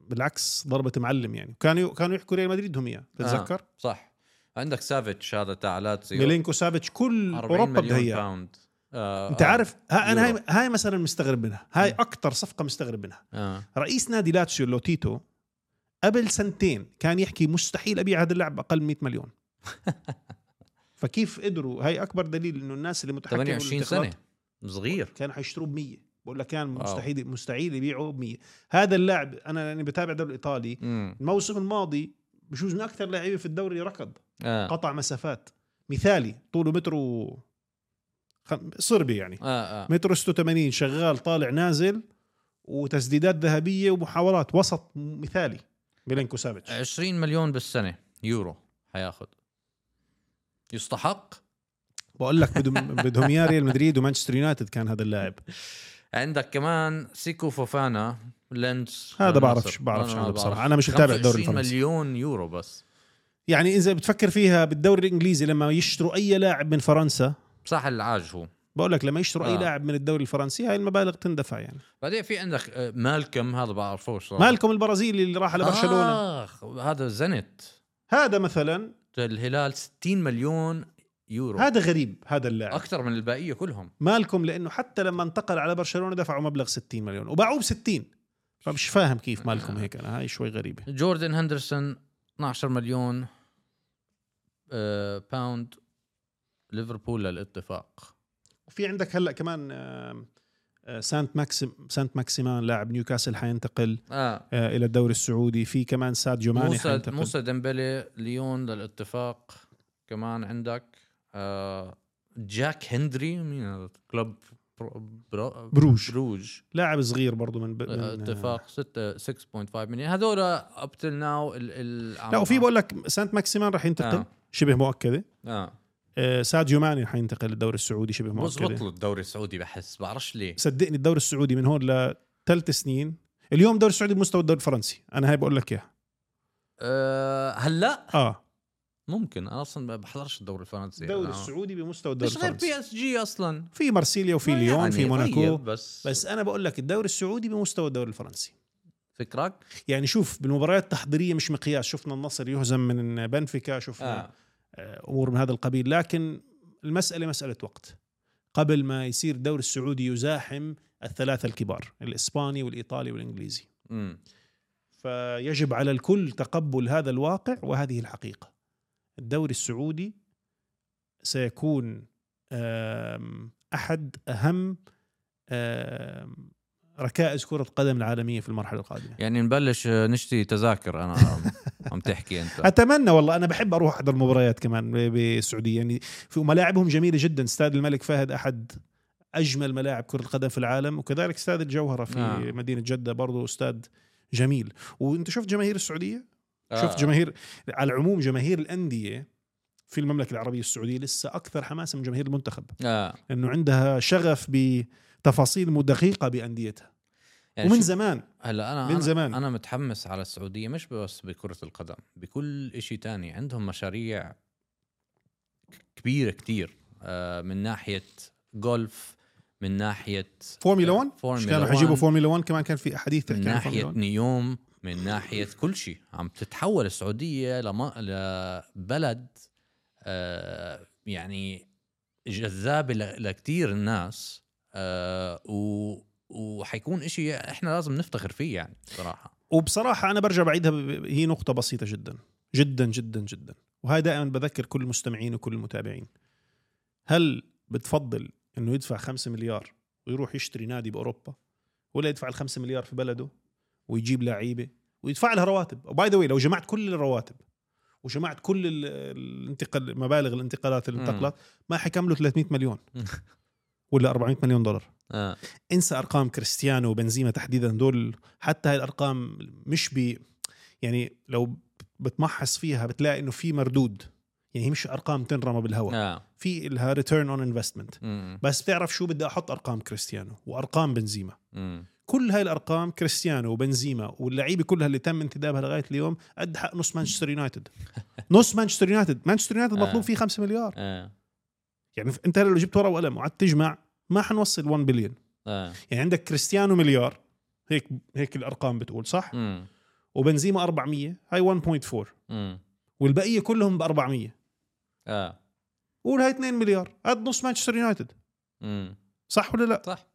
B: بالعكس ضربه معلم يعني كانوا كانوا يحكوا ريال مدريد هم اياه تتذكر
A: صح عندك سافيتش هذا تاع لاتسيو
B: ميلينكو سافيتش كل
A: 40
B: اوروبا
A: مليون
B: بدها
A: باوند آه،
B: انت
A: آه،
B: عارف ها انا
A: يورو.
B: هاي هاي مثلا مستغرب منها هاي اكثر صفقه مستغرب منها
A: آه.
B: رئيس نادي لاتسيو لوتيتو قبل سنتين كان يحكي مستحيل ابيع هذا اللاعب اقل 100 مليون فكيف قدروا هاي اكبر دليل انه الناس اللي متحكمه
A: 28
B: بالانتخابات
A: سنه صغير
B: كانوا حيشتروه ب 100 بقول لك كان
A: واو.
B: مستحيل مستحيل يبيعوا ب 100 هذا اللاعب انا لاني بتابع الدوري الايطالي
A: امم
B: الموسم الماضي بجوز من اكثر لعيبه في الدوري ركض
A: اه
B: قطع مسافات مثالي طوله متر و خم... صربي يعني
A: اه اه
B: متر 86 شغال طالع نازل وتسديدات ذهبيه ومحاولات وسط مثالي ميلينكو سافيتش
A: 20 مليون بالسنه يورو حياخذ يستحق
B: بقول لك بدهم بدهم يا ريال مدريد ومانشستر يونايتد كان هذا اللاعب
A: عندك كمان سيكو فوفانا لينس
B: هذا
A: لنصر.
B: بعرفش
A: أنا
B: بعرفش عنه
A: بعرف.
B: بصراحه انا مش متابع الدوري
A: 25
B: الفرنسي
A: مليون يورو بس
B: يعني اذا بتفكر فيها بالدوري الانجليزي لما يشتروا اي لاعب من فرنسا
A: صح العاج هو
B: بقول لك لما يشتروا اي
A: آه.
B: لاعب من الدوري الفرنسي هاي المبالغ تندفع يعني
A: بعدين في عندك آه، مالكم هذا بعرفوش صراحة.
B: مالكم البرازيلي اللي راح على برشلونه
A: آخ هذا زنت
B: هذا مثلا
A: الهلال 60 مليون يورو
B: هذا غريب هذا اللاعب
A: اكثر من البقيه كلهم
B: مالكم لانه حتى لما انتقل على برشلونه دفعوا مبلغ 60 مليون وباعوه ب 60 فمش فاهم كيف مالكم هيك انا هاي شوي غريبه
A: جوردن هندرسون 12 مليون آه، باوند ليفربول للاتفاق
B: وفي عندك هلا كمان آم، آه، سانت ماكسيم سانت ماكسيمان لاعب نيوكاسل حينتقل
A: اه
B: آه، الى الدوري السعودي في كمان ساديو ماني
A: موسى
B: حينتقل
A: موسى ديمبلي ليون للاتفاق كمان عندك آه، جاك هندري مين هذا كلوب برو- برو-
B: بروج.
A: بروج
B: لاعب صغير برضه من, ب... من آه،
A: اتفاق 6 6.5 مليون هذول اب تل ناو
B: لا وفي بقول لك سانت ماكسيمان رح ينتقل
A: آه.
B: شبه مؤكده
A: اه
B: آه، ساديو ماني رح ينتقل للدوري السعودي شبه
A: مزبط
B: مؤكده
A: له الدوري السعودي بحس بعرفش ليه
B: صدقني الدوري السعودي من هون لثلاث سنين اليوم الدوري السعودي بمستوى الدوري الفرنسي انا هاي بقول لك اياها
A: أه هلا
B: اه
A: ممكن انا اصلا ما بحضرش الدوري الفرنسي
B: الدوري
A: أنا-
B: السعودي بمستوى الدوري
A: مش آه. غير
B: الفرنسي
A: بي اس جي اصلا
B: في مارسيليا وفي
A: ما
B: ليون
A: يعني
B: في موناكو
A: طيب بس بس
B: بس انا بقول لك الدوري السعودي بمستوى الدوري الفرنسي
A: فكرك
B: يعني شوف بالمباريات التحضيريه مش مقياس شفنا النصر يهزم من بنفيكا شفنا آه.
A: آه.
B: امور من هذا القبيل لكن المساله مساله وقت قبل ما يصير الدوري السعودي يزاحم الثلاثه الكبار الاسباني والايطالي والانجليزي
A: امم
B: فيجب على الكل تقبل هذا الواقع وهذه الحقيقة الدوري السعودي سيكون آم، أحد أهم آم، ركائز كرة القدم العالمية في المرحلة القادمة
A: يعني نبلش آه، نشتري تذاكر انا عم- عم تحكي انت
B: أتمنى والله أنا بحب أروح أحضر مباريات كمان ب- بالسعودية يعني في ملاعبهم جميلة جدا استاد الملك فهد أحد أجمل ملاعب كرة القدم في العالم وكذلك استاد الجوهرة في
A: آه.
B: مدينة جدة برضو استاد جميل وأنت شفت جماهير السعودية؟
A: آه.
B: شفت جماهير على العموم جماهير الانديه في المملكه العربيه السعوديه لسه اكثر حماس من جماهير المنتخب
A: اه
B: لانه عندها شغف بتفاصيل مدقيقه بانديتها
A: يعني
B: ومن
A: شوف،
B: زمان
A: هلا انا
B: من
A: أنا-
B: زمان.
A: انا متحمس على السعوديه مش بس بكره القدم بكل شيء تاني عندهم مشاريع ك- كبيره كتير آه، من ناحيه جولف من آه، ناحيه
B: فورمولا 1
A: فورمولا
B: مش كانوا
A: 1.
B: حيجيبوا فورمولا 1 كمان كان في احاديث
A: من
B: تحكي عن
A: ناحيه
B: فورمولا 1
A: نيوم من ناحيه كل شيء عم تتحول السعوديه لما لبلد آه، يعني جذابه ل- لكتير الناس آه، و وحيكون إشي احنا لازم نفتخر فيه يعني صراحه
B: وبصراحه انا برجع بعيدها ب- ب- هي نقطه بسيطه جدا جدا جدا جدا وهي دائما بذكر كل المستمعين وكل المتابعين هل بتفضل انه يدفع 5 مليار ويروح يشتري نادي باوروبا ولا يدفع ال 5 مليار في بلده ويجيب لعيبه ويدفع لها رواتب Oh, وباي ذا واي لو جمعت كل الرواتب وجمعت كل ال- الانتقال مبالغ الانتقالات اللي
A: مم.
B: انتقلت ما حيكملوا 300 مليون ولا 400 مليون دولار
A: آه.
B: انسى ارقام كريستيانو وبنزيما تحديدا دول حتى هاي الارقام مش بي يعني لو بتمحص فيها بتلاقي انه في مردود يعني هي مش ارقام تنرمى بالهواء
A: آه.
B: في لها ريتيرن اون انفستمنت
A: مم.
B: بس بتعرف شو بدي احط ارقام كريستيانو وارقام بنزيما
A: مم.
B: كل هاي الارقام كريستيانو وبنزيما واللعيبه كلها اللي تم انتدابها لغايه اليوم قد حق نص مانشستر يونايتد نص مانشستر يونايتد مانشستر يونايتد
A: آه.
B: مطلوب فيه 5 مليار
A: آه.
B: يعني انت لو جبت ورقه وقلم وقعدت تجمع ما حنوصل 1 بليون
A: آه.
B: يعني عندك كريستيانو مليار هيك هيك الارقام بتقول صح
A: مم.
B: وبنزيما 400 هاي 1.4
A: مم.
B: والبقيه كلهم ب 400
A: آه.
B: قول هاي 2 مليار قد نص مانشستر يونايتد
A: مم.
B: صح ولا لا
A: صح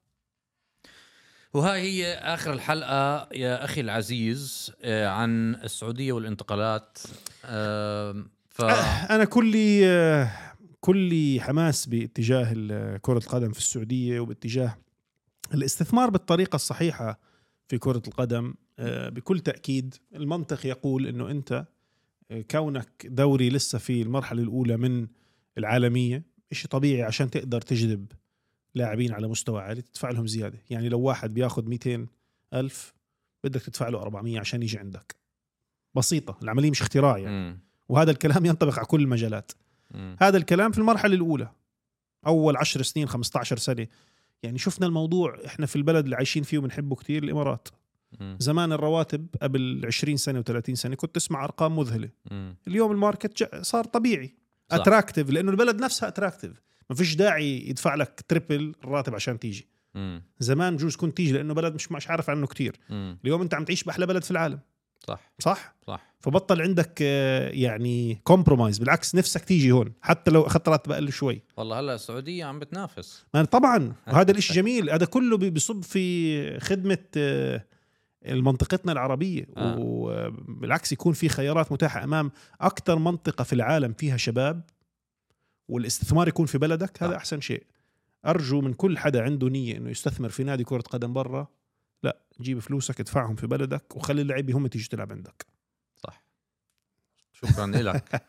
A: وهاي هي اخر الحلقه يا اخي العزيز آه، عن السعوديه والانتقالات آم، ف
B: انا آه، كلي آه، كلي حماس باتجاه ال- كره القدم في السعوديه وباتجاه الاستثمار بالطريقه الصحيحه في كره القدم آه، بكل تاكيد المنطق يقول انه انت آه، كونك دوري لسه في المرحله الاولى من العالميه شيء طبيعي عشان تقدر تجذب لاعبين على مستوى عالي تدفع لهم زياده يعني لو واحد بياخذ 200 ألف بدك تدفع له 400 عشان يجي عندك بسيطه العمليه مش اختراع يعني
A: مم.
B: وهذا الكلام ينطبق على كل المجالات
A: مم.
B: هذا الكلام في المرحلة الأولى أول 10 سنين 15 سنة يعني شفنا الموضوع إحنا في البلد اللي عايشين فيه وبنحبه كتير الإمارات
A: مم.
B: زمان الرواتب قبل 20 سنة و30 سنة كنت تسمع أرقام مذهلة
A: مم.
B: اليوم الماركت جا- صار طبيعي
A: صح.
B: اتراكتيف لأنه البلد نفسها اتراكتيف ما فيش داعي يدفع لك تريبل الراتب عشان تيجي
A: مم.
B: زمان جوز كنت تيجي لأنه بلد مش مش عارف عنه كتير
A: مم.
B: اليوم أنت عم تعيش بأحلى بلد في العالم
A: صح
B: صح؟
A: صح
B: فبطل عندك آه، يعني كومبرومايز بالعكس نفسك تيجي هون حتى لو اخذت راتب اقل شوي
A: والله هلا السعوديه عم بتنافس
B: ما طبعا وهذا الاشي جميل هذا كله بي- بيصب في خدمه آه، منطقتنا العربيه
A: آه.
B: وبالعكس يكون في خيارات متاحه امام اكثر منطقه في العالم فيها شباب والاستثمار يكون في بلدك هذا
A: آه.
B: احسن شيء ارجو من كل حدا عنده نيه انه يستثمر في نادي كره قدم برا لا جيب فلوسك ادفعهم في بلدك وخلي اللعيبه هم تيجي تلعب عندك
A: صح شكرا لك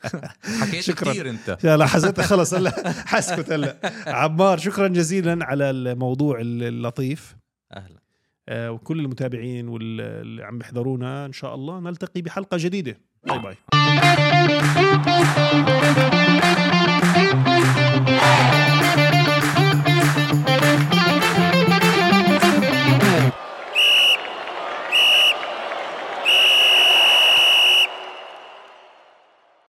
A: حكيت
B: شكراً.
A: كثير انت
B: لا لا حسيت خلص هلا حسكت هلا عمار شكرا جزيلا على الموضوع اللطيف
A: اهلا
B: آه، وكل المتابعين واللي عم يحضرونا ان شاء الله نلتقي بحلقه جديده باي باي